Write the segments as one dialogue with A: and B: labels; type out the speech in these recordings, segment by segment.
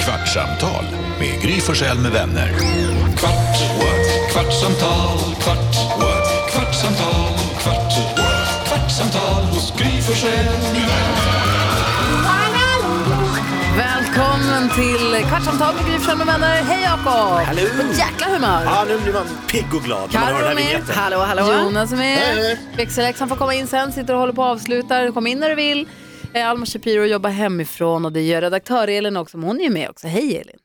A: Kvartsamtal med Gry Forssell med vänner. Kvart, what? kvartsamtal, kvart, what? kvartsamtal, kvart, what? kvartsamtal hos Gry Forssell med vänner.
B: Välkommen till Kvartsamtal med Gry Forssell med vänner. Hej Jakob!
C: Hallå!
B: Vad Jäkla humör!
C: Ja, nu blir man pigg och glad när man hör
B: Carro är
C: den här
B: med.
C: vinjetten.
B: Jonas är med.
C: Hej.
B: Växelläxan får komma in sen, sitter och håller på och avslutar. Kom in när du vill. Eh, Alma Shapiro jobbar hemifrån och det gör redaktör-Elin också, men hon är ju med också. Hej Elin!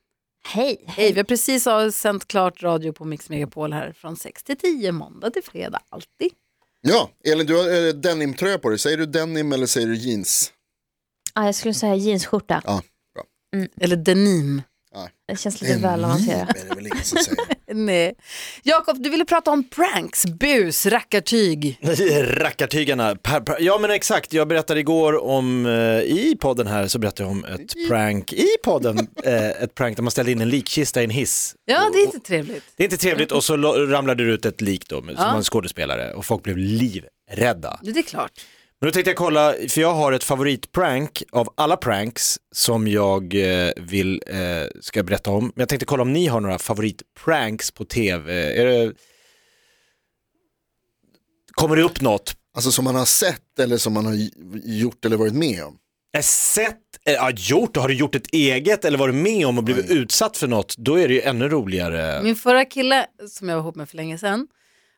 D: Hej.
B: Hej, vi har precis av- sänt klart radio på Mix Megapol här från 6 till 10, måndag till fredag, alltid.
E: Ja, Elin du har eh, denimtröja på dig. Säger du denim eller säger du jeans?
D: Ah, jag skulle säga jeansskjorta.
E: Ja, bra.
B: Eller denim.
D: Det känns lite väl avancerat.
E: är det väl ingen som säger.
B: Nej. Jakob, du ville prata om pranks, bus, rackartyg.
C: Rackartygarna. Per- per- Ja men exakt, jag berättade igår om, eh, i podden här så berättade jag om ett prank, i podden, eh, ett prank där man ställde in en likkista i en hiss.
B: Ja, det är inte trevligt.
C: Det är inte trevligt och så lo- ramlade det ut ett lik då, med- som var en skådespelare och folk blev livrädda.
B: Det är klart.
C: Men då tänkte jag kolla, för jag har ett favoritprank av alla pranks som jag eh, vill, eh, ska berätta om. Men jag tänkte kolla om ni har några favoritpranks på tv. Är det... Kommer det upp något?
E: Alltså som man har sett eller som man har j- gjort eller varit med om.
C: Är sett, eh, ja, gjort, har du gjort ett eget eller varit med om och blivit utsatt för något, då är det ju ännu roligare.
B: Min förra kille, som jag var ihop med för länge sedan,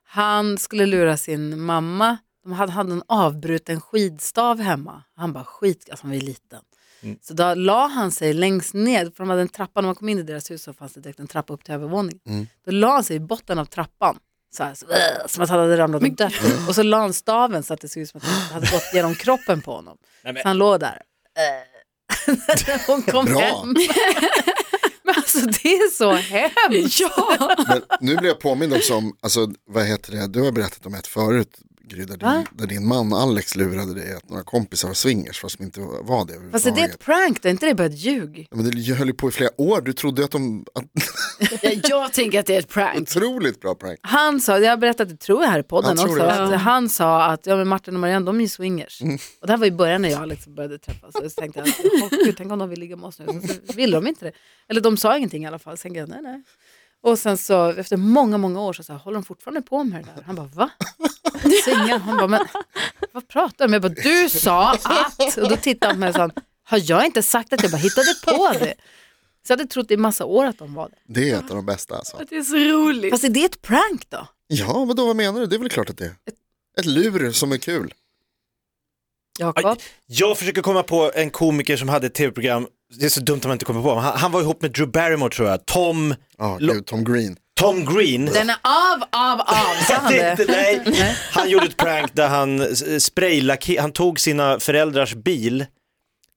B: han skulle lura sin mamma. De hade, hade en avbruten skidstav hemma. Han bara skit, alltså han var ju liten. Så då la han sig längst ner, för de hade en trappa, när man kom in i deras hus så fanns det direkt en trappa upp till övervåningen. Då la han sig i botten av trappan, så här, så, äh, som att han hade ramlat och dött. Och så la han staven så att det såg ut som att han hade gått genom kroppen på honom. Så han låg där. Äh. Hon kom
E: Bra.
B: hem. Men alltså det är så hemskt.
E: Men nu blir jag påmind också om, alltså, vad heter det, du har berättat om ett förut. Gry, där,
B: Va?
E: din, där din man Alex lurade dig att några kompisar var swingers fast de inte var det
B: Fast är Alltså, det
E: överhuvudtaget.
B: ett prank då? Är inte det bara ett ljug?
E: Ja, Men det höll ju på i flera år, du trodde att de... Att,
F: Jag tänker att det är ett prank.
E: otroligt bra prank.
B: Han sa, jag har berättat det tror jag här i podden
E: Jag tror
B: också,
E: det. Mm.
B: att han sa att ja, men Martin och Marianne de är ju swingers. Och det här var i början när jag liksom började träffas. Och så tänkte jag, åh, gud, tänk om de vill ligga med oss nu. Så ville de inte det. Eller de sa ingenting i alla fall. Sen, tänkte jag, nej, nej. Och sen så efter många, många år så sa jag, håller de fortfarande på med det där? Han bara, va? Swingar? Han bara, men vad pratar du om? Jag bara, du sa att. Och då tittade han på mig och sa, har jag inte sagt att jag bara hittade på det? Så jag hade trott i massa år att de var det.
E: Det är ett av de bästa alltså.
F: Det är så roligt.
B: Fast är det ett prank då?
E: Ja, vadå, vad menar du? Det är väl klart att det är. Ett lur som är kul.
B: Jakob?
C: Jag försöker komma på en komiker som hade ett tv-program, det är så dumt om man inte kommer på, men han, han var ihop med Drew Barrymore tror jag, Tom,
E: Ja,
C: Lo-
E: gud, Tom Green.
C: Tom Green.
B: Den är av, av, av. Sa han
C: Det är
B: det?
C: inte dig. Han gjorde ett prank där han eh, spraylacker, han tog sina föräldrars bil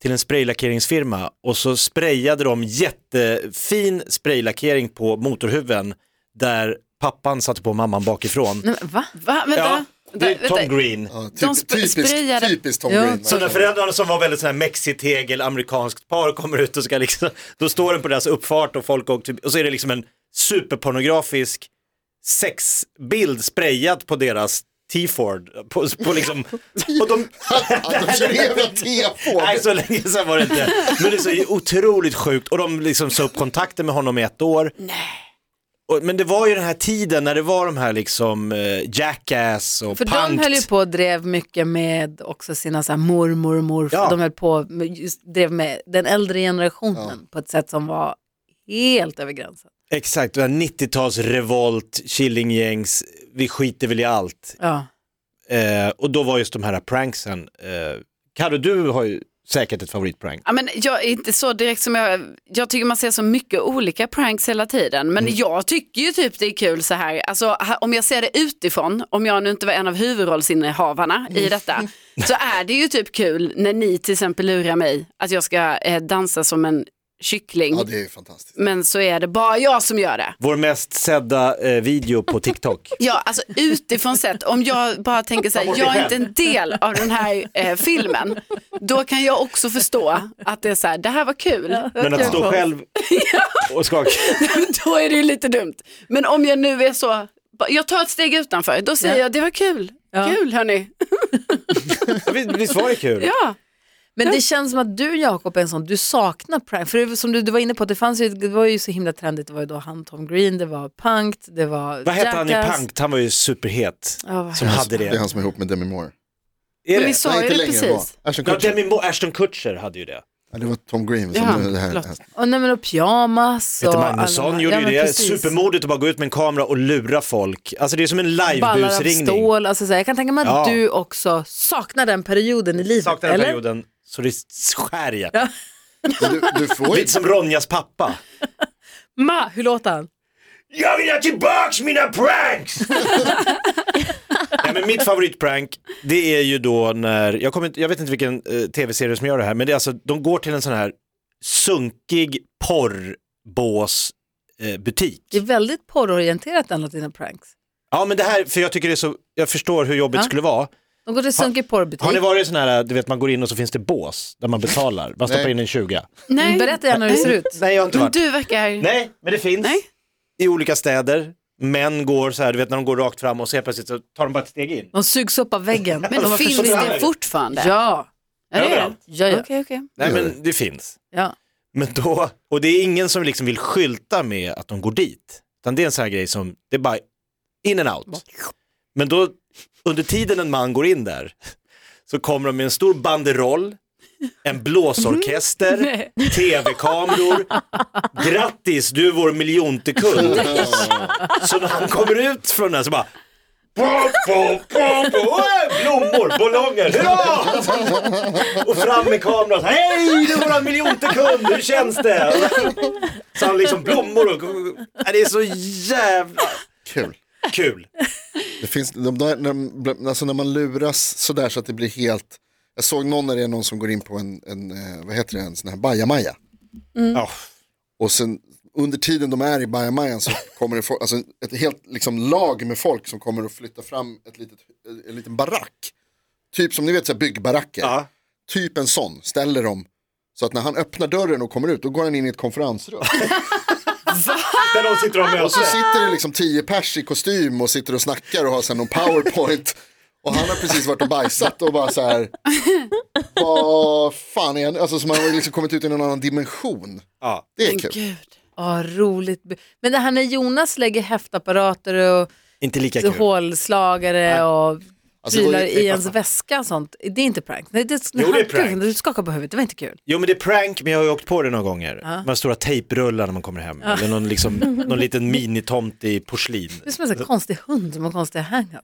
C: till en spraylackeringsfirma och så sprayade de jättefin spraylackering på motorhuven där pappan satte på mamman bakifrån.
B: Nej, men va?
F: Va?
C: Ja,
F: Vänta.
C: det är
F: Vänta.
C: Tom Green.
E: Ja, typ,
F: De sp- sprayade-
E: typiskt, typiskt Tom
B: Ja.
E: Green.
C: Så när föräldrarna som var väldigt sån här mexitegel, amerikanskt par kommer ut och ska liksom, då står den på deras uppfart och folk åker, och så är det liksom en superpornografisk sexbild sprayad på deras T-Ford. På, på liksom, och de,
E: Att de kör jävla T-Ford.
C: nej så länge sedan var det inte. Men det är så otroligt sjukt och de liksom sa upp kontakten med honom i ett år. Nej. Och, men det var ju den här tiden när det var de här liksom eh, Jackass och
B: För de
C: Punk'd.
B: höll ju på och drev mycket med också sina så här mormor och morfar.
C: Ja.
B: De höll på med, just, drev med den äldre generationen på ett sätt som var helt över gränsen.
C: Exakt, det här 90-tals revolt, Killinggängs, vi skiter väl i allt.
B: Ja.
C: Eh, och då var just de här pranksen. Eh, Karo, du har ju säkert ett favoritprank.
F: Ja, men jag är inte så direkt som jag, jag tycker man ser så mycket olika pranks hela tiden. Men
B: Mm.
F: jag tycker ju typ det är kul så här, alltså ha- om jag ser det utifrån, om jag nu inte var en av huvudrollsinnehavarna
B: Mm.
F: i detta, så är det ju typ kul när ni till exempel lurar mig att jag ska eh, dansa som en kyckling.
E: Ja, det är fantastiskt.
F: Men så är det bara jag som gör det.
C: Vår mest sedda eh, video på TikTok.
F: Ja, alltså utifrån sett, om jag bara tänker så här, jag är inte en del av den här eh, filmen, då kan jag också förstå att det är så här, det här var kul,
C: Men att stå själv och skaka.
F: då är det ju lite dumt. Men om jag nu är så, bara- jag tar ett steg utanför, då säger jag, det var kul, kul hörni.
C: Visst- Visst var det kul?
F: Ja,
B: Men det känns som att du Jakob är en sån, du saknar prank. För det, som du, du var inne på, det, fanns ju, det var ju så himla trendigt. Det var ju då han Tom Green, det var Punkt, det var
C: Vad hette han i
B: Jackass.
C: Punkt? Han var ju superhet.
B: Ja, vad
C: Som hade
E: Det är
C: det.
E: han som är ihop med Demi Moore.
C: Är
F: Men vi
C: det?
F: sa ju det precis.
E: Ashton
C: Ja,
E: Kutcher.
C: Demi Moore, Ashton Kutcher hade ju det.
E: Ja, det var Tom Green som
F: Ja,
E: gjorde det här.
F: förlåt.
B: Och, nej, men, och pyjamas.
C: Peter
B: och alla de
C: Magnusson
B: här-
C: gjorde
B: ja,
C: ju
B: men
C: det.
B: precis.
C: Supermodigt att bara gå ut med en kamera och lura folk. Alltså det är som en
B: Ballar av
C: livebusringning.
B: stål. Alltså, så här, jag kan tänka mig att
C: Ja.
B: du också saknar den perioden i livet.
C: Saknar den
B: eller?
C: perioden så det skär i hjärtat.
E: Du, du får ju
C: Lite som Ronjas pappa.
B: Ma, hur låter han?
C: Jag vill ha tillbaks mina pranks! Nej, men mitt favoritprank, det är ju då när, jag, kommer inte, jag vet inte vilken eh, tv-serie som gör det här, men det är alltså, de går till en sån här sunkig eh, porrbåsbutik.
B: Det är väldigt porrorienterat en av dina pranks.
C: ja men det här, för jag tycker det är så, jag förstår hur jobbigt det
B: Ja.
C: skulle vara.
B: De går till sunkig porrbutik.
C: Har ni varit i sån här, du vet man går in och så finns det bås där man betalar, man stoppar
E: Nej.
C: in en 20.
F: Nej,
B: Mm, Berätta gärna hur det ser ut.
C: Nej jag har inte
F: men
C: varit.
F: du verkar...
C: Nej, men det finns.
F: Nej.
C: I olika städer, män går så här, du vet när de går rakt fram och så helt plötsligt så tar de bara ett steg in.
B: De sugs upp av väggen.
F: Men
C: alltså,
B: de har
F: finns
B: försvunnit.
C: försvunnit.
F: det fortfarande?
B: Ja,
F: Är det
C: Överallt.
F: det?
B: ja, ja.
F: Okej, okej.
C: Nej men det finns.
B: ja.
C: Men då, och det är ingen som liksom vill skylta med att de går dit. Utan det är en sån här grej som, det är bara in and out. Men då, under tiden en man går in där, så kommer de med en stor banderoll, en blåsorkester, tv-kameror, grattis du är vår miljonte kund. Så när han kommer ut från den här så bara, pom, pom, pom, pom, äh, blommor, ballonger, hurra! Och fram med kameran, hej det är våran miljonte kund, hur känns det? Så han liksom blommor och, Nej, det är så jävla
E: kul.
C: kul.
E: Det finns, de där, när, de- alltså när man luras sådär så att det blir helt, jag såg någon när det är någon som går in på en, en eh, vad heter det, en sån här bajamaja.
C: Ja.
E: Och sen under tiden de är i bajamajan så kommer det folk, alltså ett helt liksom, lag med folk som kommer att flytta fram ett litet, en liten barack. Typ som ni vet så här byggbaracker.
C: Ja.
E: Typ en sån ställer de. Så att när han öppnar dörren och kommer ut då går han in i ett konferensrum.
C: Där de sitter
B: Ah,
C: och
E: Och så
C: möter.
E: sitter det liksom tio pers i kostym och sitter och snackar och har sen någon powerpoint. Och han har precis varit och bajsat och bara så här. Vad fan är han? Alltså som han har liksom kommit ut i någon annan dimension.
C: Ja.
E: Det är
F: Men
E: kul.
F: gud.
B: Ja, ah, roligt. Men det här när Jonas lägger häftapparater och
C: Inte lika
B: så
C: kul.
B: hålslagare och
E: Alltså, det var
B: prylar
E: ju-
B: i ens väska och sånt. Det är inte prank. Nej, det,
C: Jo, det är prank.
B: Du skakar på huvudet, det var inte kul.
C: Jo men det är prank, men jag har ju åkt på det några gånger.
B: Ah.
C: De här stora tejprullar när man kommer hem. Eller någon, liksom, någon liten minitomt i porslin.
B: Det är som en
C: Alltså-
B: sån här konstig hund som har konstiga hang-ups.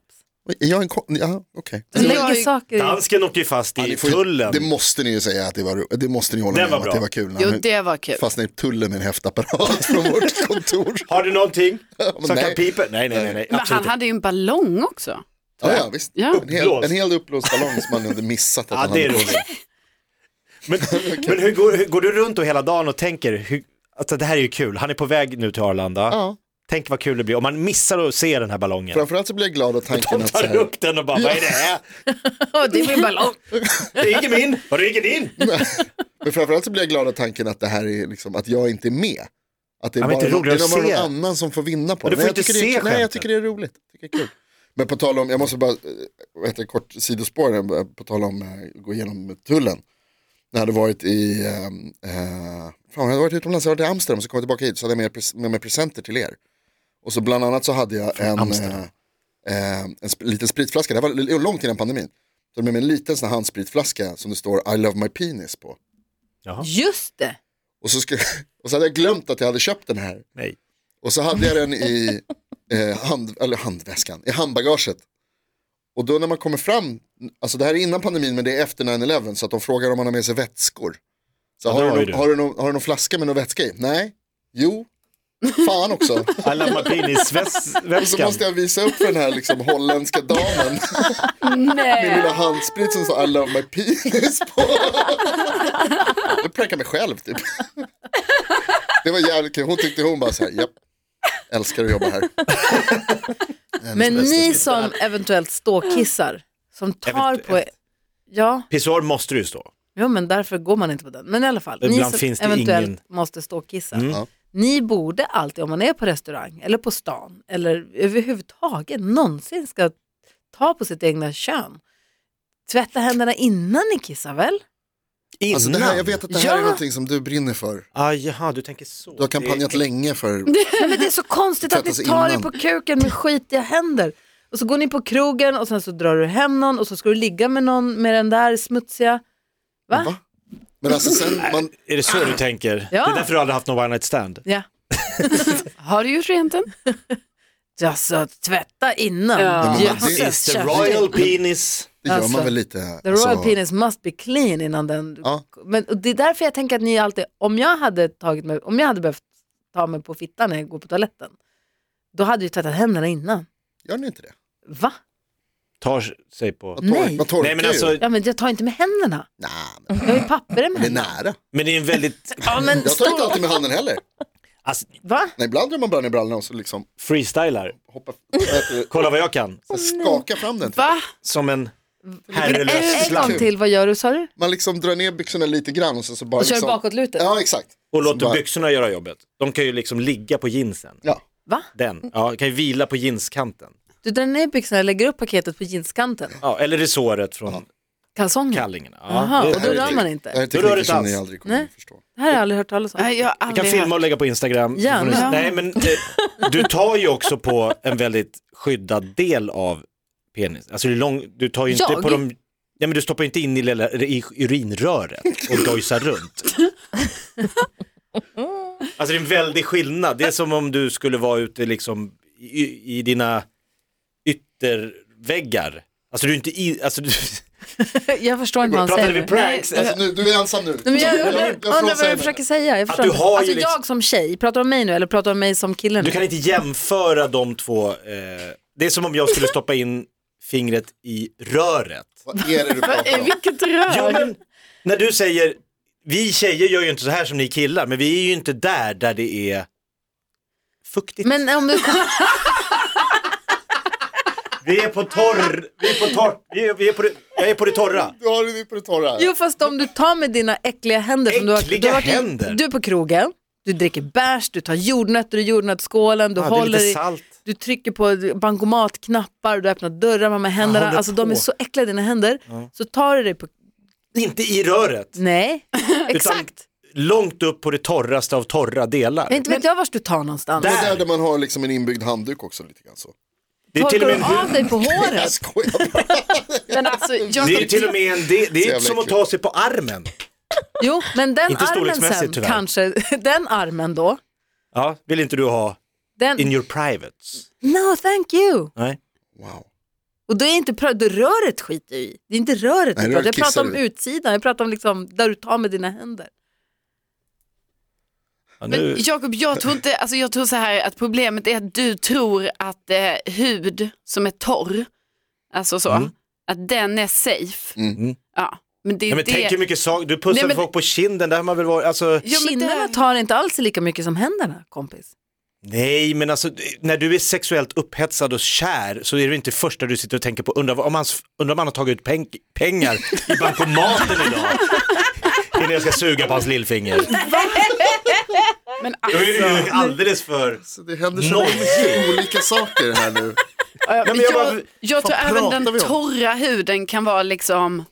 E: Oj, Är jag en kon- ja, okej.
C: Alltså,
B: Den
F: Det var
B: lägger
F: ju-
B: saker i.
C: Dansken åker ju fast
E: Ja,
C: i
E: ni får ju-
C: tullen.
E: Det måste ni ju säga att det var, det måste ni hålla
C: Det
E: med
C: var
E: om
C: bra.
E: att det var kul. när
F: Jo,
E: han
F: det var kul.
E: Fastnade i tullen med en häftapparat från vårt kontor.
C: Har du någonting
E: men
C: som kan
E: nej.
C: pipa? Nej, nej, nej. nej.
F: Men
C: Absolut
F: han
C: inte.
F: hade ju en ballong också.
E: Ja, ja, visst.
F: Ja.
E: En hel, en hel uppblåst ballong som man hade missat att
C: Ja,
E: han
C: det är
E: hade på sig.
C: roligt. Men, men hur, går, hur går du runt då hela dagen och tänker, hur, alltså det här är ju kul, han är på väg nu till Arlanda,
E: Ja,
C: tänk vad kul det blir om man missar att se den här ballongen.
E: framförallt så blir jag glad av tanken
C: De
E: att så
C: tar
E: här,
C: upp den och bara, vad är det här?
B: Ja, det är min ballong.
C: Det är inte min, var det inte din?
E: Men framförallt så blir jag glad av tanken att det här är liksom, att jag inte är med. Att det är
C: Ja, men
E: bara
C: det är
E: någon, det
C: roligare
E: är någon,
C: att se.
E: någon annan som får vinna på
C: Men du får
E: det. Men jag
C: inte
E: tycker
C: se
E: det är, nej, jag
C: skämten.
E: tycker det är roligt. Jag tycker det är kul. Men på tal om, jag måste bara, eh, vad heter det, kort sidospår, här, på tal om eh, gå igenom tullen. När jag hade varit i, eh, eh, fan jag hade varit utomlands, jag hade varit i Amsterdam, så kom jag tillbaka hit, så hade jag med, pres- med mig presenter till er. Och så bland annat så hade jag en, eh,
C: Amsterdam.
E: eh, en sp- liten spritflaska, det här var l- långt innan pandemin. Så hade jag med mig en liten sån här handspritflaska som det står I love my penis på.
B: Just det.
E: Och så, skulle, och så hade jag glömt att jag hade köpt den här.
C: Nej.
E: Och så hade jag den i eh, hand, eller handväskan, i handbagaget. Och då när man kommer fram, alltså det här är innan pandemin men det är efter 9-11 så att de frågar om man har med sig vätskor. Så
C: Ja, det
E: har,
C: har
E: du
C: ju
E: någon,
C: du.
E: har, du någon, har du någon flaska med någon vätska i? Nej. Jo. Fan också.
C: Alla
E: Och så
C: Martinis-väskan.
E: Alltså, måste jag visa upp för den här liksom holländska damen min lilla handsprit som sa I love my penis på. Jag prankade mig själv typ. Det var jävligt kul. Hon tyckte hon bara så här, japp, älskar att jobba här. Hennes
B: Men
C: Alltså,
E: bästa
B: ni
E: stil.
B: som eventuellt ståkissar, som tar
C: Eventuellt.
B: på... Ja,
C: Pissoar måste du ju stå.
B: Jo men därför går man inte på den. Men i alla fall, ni
C: Ibland
B: som
C: finns det
B: eventuellt
C: ingen- Mm.
B: måste stå och kissa.
E: Ja.
B: Ni borde alltid, om man är på restaurang eller på stan eller överhuvudtaget någonsin ska ta på sitt egna kön. Tvätta händerna innan ni kissar väl?
C: Innan?
E: Alltså det här, jag vet att det här
B: Ja.
E: är någonting som du brinner för.
C: ah, jaha, du tänker så.
E: Du har kampanjat
C: Det-
E: länge för,
B: Nej, men det är så konstigt att ni
E: Tvätta sig
B: tar er
E: innan.
B: på kuken med skitiga händer. Och så går ni på krogen och sen så drar du hem någon och så ska du ligga med någon med den där smutsiga. Va?
E: Va? men alltså sen, man,
C: Är det så du tänker?
B: Ja.
C: Det är därför du aldrig haft någon one night stand.
B: Ja.
F: Har du gjort rent än?
B: Alltså tvätta innan.
F: Ja.
E: men
B: Jösses,
E: det-
C: It's the
B: käften.
C: Alltså, royal penis.
E: det gör
B: Alltså,
E: man väl lite.
B: The royal
E: alltså,
B: penis must be clean innan den.
E: Ja.
B: Men, och det är därför jag tänker att ni alltid, om jag hade tagit mig, om jag hade behövt ta mig på fittan när jag går på toaletten, då hade jag ju tvättat händerna innan.
E: Gör ni inte det?
B: Va?
C: Tar sig på.
E: Man, tor-
B: Nej.
E: man torkar
C: Nej men alltså,
E: ju.
B: Ja men jag tar inte med händerna.
E: Nej, men
B: Jag har ju papper i med
E: det är
B: händerna.
E: nära.
C: men det är en väldigt
B: Ja, men
E: Jag tar inte
B: stor-
E: alltid med handen heller.
C: alltså,
B: Va?
E: Nej, ibland drar man bara ner brallorna och så liksom
C: freestylar.
E: hoppar, vad heter det?
C: Kolla vad jag kan.
E: Så skakar fram den.
F: Va?
C: Som en herrelös
B: En gång
C: slang.
B: till, vad gör du sa du?
E: Man liksom drar ner byxorna lite grann och sen så bara
B: Och kör
E: liksom,
B: bakåtlutet?
E: Ja, exakt.
C: Och
E: Så
C: låter
E: bara-
C: byxorna göra jobbet. De kan ju liksom ligga på jeansen.
E: Ja.
B: Va?
C: Den. Ja, kan ju vila på jeanskanten.
B: Du drar ner byxorna och lägger upp paketet på jeanskanten?
C: Ja, eller resåret från
B: Kalsongen?
C: kallingen.
B: Aha,
C: Ja, det-
B: och då
E: Det här
B: rör
E: är
B: man
E: tek-
B: inte.
E: Det här är
C: Då rör det
E: tekniker som
C: inte
E: ni
C: alls.
E: aldrig kommer
B: Nej.
E: att förstå.
B: Det här har jag aldrig hört talas om.
F: Nej, jag har
C: Vi
F: aldrig
C: kan filma
F: haft.
C: och lägga på Instagram.
B: Gärna.
C: Får ni- Nej, men eh, du tar ju också på en väldigt skyddad del av penis. Alltså det är lång, du tar ju inte
B: Jag?
C: på de... Nej men du stoppar ju inte in i, lilla, i urinröret och dojsar runt. Alltså det är en väldig skillnad. Det är som om du skulle vara ute liksom i, i dina ytterväggar. Alltså du är inte i... Alltså du,
B: Jag förstår inte vad han
C: pratade
B: säger.
C: vi pranks?
E: Alltså, nu, du är ensam nu.
B: Nej, men jag, undrar-
E: jag,
B: undrar vad
E: frånsäger
B: du
E: mig.
B: försöker säga. Jag, förstår
C: du
B: inte.
C: har ju
B: alltså,
C: liksom-
B: jag som tjej, pratar du om mig nu eller pratar du om mig som kille nu?
C: Du kan inte jämföra de två. Eh, det är som om jag skulle stoppa in fingret i röret.
E: Vad är det du pratar
F: Eh,
E: om?
F: Vilket rör.
C: Ja, men, när du säger, vi tjejer gör ju inte så här som ni killar, men vi är ju inte där där det är fuktigt.
B: Men om du...
C: Vi är på torr, vi är på torr, vi är, vi är på det, jag är på det torra.
E: Du har det på det torra här.
B: Jo fast om du tar med dina äckliga händer. som du har,
C: Äckliga
B: du har varit i-
C: händer?
B: Du är på krogen, du dricker bärs, du tar jordnötter ur jordnötsskålen, du
C: Ja, det är
B: håller
C: lite
B: i-
C: salt.
B: Du trycker på bankomatknappar, du öppnar dörrar med händerna.
C: håller
B: Alltså de är
C: på.
B: så äckliga dina händer. Så tar du dig på...
C: Inte i röret,
B: Nej,
C: utan
B: exakt.
C: långt upp på det torraste av torra delar.
B: Inte vet jag vars du tar någonstans.
E: Det är där, där man har liksom en inbyggd handduk också lite grann så.
C: Det är
B: Torkar
C: till och med
B: du
C: en
B: av dig på
E: Jag
B: håret?
E: skojar bara.
F: Men alltså, jag
C: det är till och med en del, det är
E: jävla
C: som att
E: äckligt.
C: ta sig på armen.
B: Jo, men den
C: Inte
B: armen
C: storleksmässigt,
B: sen
C: tyvärr.
B: kanske, den armen då.
C: Ja, vill inte du ha
B: Den,
C: in your privates?
B: No thank you.
C: Nej.
E: Wow.
B: Och då är inte pra- då är röret skit i. Det är inte röret
E: Nej,
B: vi pratar.
E: röret
B: Jag pratar
E: kissar
B: om
E: du.
B: utsidan, jag pratar om liksom där du tar med dina händer.
C: Ja,
F: Men
C: nu,
F: Jakob, jag tror inte, alltså jag tror så här att problemet är att du tror att eh, hud som är torr, alltså så,
C: Mm.
F: att den är safe. Ja, men det är
C: ja, men
F: det.
C: tänk hur mycket saker, du pussar
F: Nej, men-
C: folk på kinden, där har man väl varit, alltså.
F: Jo, men det-
B: Kinderna tar inte alls lika mycket som händerna kompis.
C: Nej, men alltså när du är sexuellt upphetsad och kär så är det inte första du sitter och tänker på, undrar vad- om han, undrar om han har tagit ut peng, pengar i bankomaten idag. Innan jag ska suga på hans lillfinger.
F: Men
C: Jag är ju alldeles för...
E: Så det händer så
C: Noll.
E: mycket olika saker här nu.
F: jag,
C: men jag
F: jag,
C: bara-
F: alltså, jag, tror
E: Vad
F: även
E: pratar vi
F: den
E: om?
F: torra huden kan vara liksom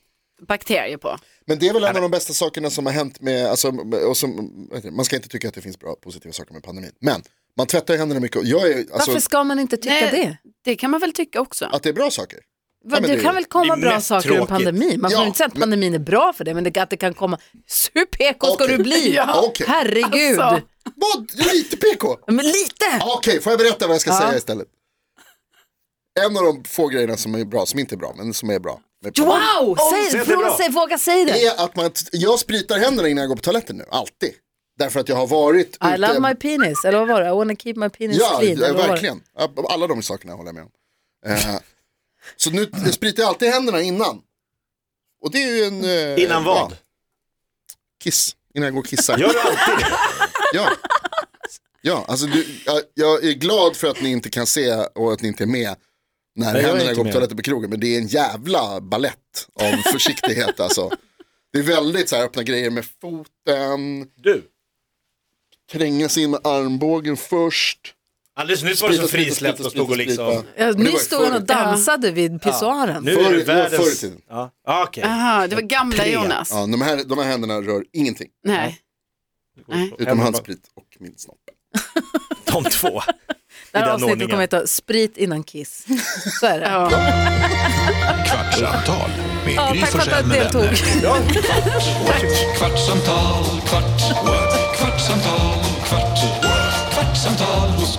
F: bakterier på.
E: Men det är väl en av de bästa sakerna som har hänt med, alltså, och som, vad heter det? man ska inte tycka att det finns bra positiva saker med pandemin. Men man tvättar ju händerna mycket och jag är, alltså,
B: Varför ska man inte tycka
F: Nej,
B: det?
F: Det kan man väl tycka också.
E: att det är bra saker.
B: Va,
E: men
B: det,
E: det-
B: kan väl komma
C: det är
B: bra
C: mest
B: saker ur en
C: tråkigt.
B: pandemi? Man får
E: Ja,
B: inte säga att
E: men-
B: pandemin är bra för det, men det, att det kan komma... Hur PK ska
E: Okej.
B: du bli?
E: Ja, okej.
B: Herregud!
F: Alltså.
E: Vad? Lite PK?
B: Men lite!
E: Okej, får jag berätta vad jag ska säga istället? En av de få grejerna som är bra, som inte är bra, men som är bra. med pandemin,
B: Wow!
C: säg
B: säg,
C: det
B: fråga,
C: bra.
B: säg, våga säga det!
E: är att man, jag spritar händerna innan jag går på toaletten nu, alltid. Därför att jag har varit
B: I love my penis, eller vad var det? I wanna keep my penis
E: Ja,
B: clean. eller
E: ja,
B: vad var det?
E: verkligen. Alla de sakerna håller jag med om. Eh, så nu jag spritar jag alltid händerna innan. Och det är ju en... eh,
C: Innan vad?
E: ja, Kiss. Innan jag går och kissar.
C: Gör du alltid det?
E: Ja. Ja, alltså du, jag, jag är glad för att ni inte kan se och att ni inte är med när
C: jag är
E: händerna
C: inte
E: går på
C: med.
E: toaletten på krogen. Men det är en jävla ballett av försiktighet alltså. Det är väldigt så här öppna grejer med foten,
C: Du?
E: tränga sig in med armbågen först.
C: Alldeles nyss var det så
E: Sprita,
C: frisläppt
E: sprita, sprita,
C: och stod och
E: sprita,
C: liksom.
E: sprita.
B: Ja,
E: det var
B: nu
E: ju
B: stod han och
E: förut.
B: dansade vid pissoaren.
C: Nu
E: Förr-
C: är
E: det
C: det
E: var förr i
C: världens...
E: tiden.
C: Ja, ah, okej.
F: Aha, det var gamla
C: Tre.
F: Jonas.
E: Ja, de, här, de här händerna rör ingenting,
F: Nej. Nej.
E: utom hans sprit och min snopp.
C: De två.
B: Det här
C: den
B: avsnittet
C: ordningen.
B: kommer att heta Sprit innan kiss. Så är det.
F: Ja.
A: Kvartsamtal med
B: Ja,
A: Gry
B: tack för att
A: Forssell
B: jag
A: med vänner.
B: deltog.
A: Kvartsamtal, kvart, what? kvartsamtal, kvart, what? kvartsamtal hos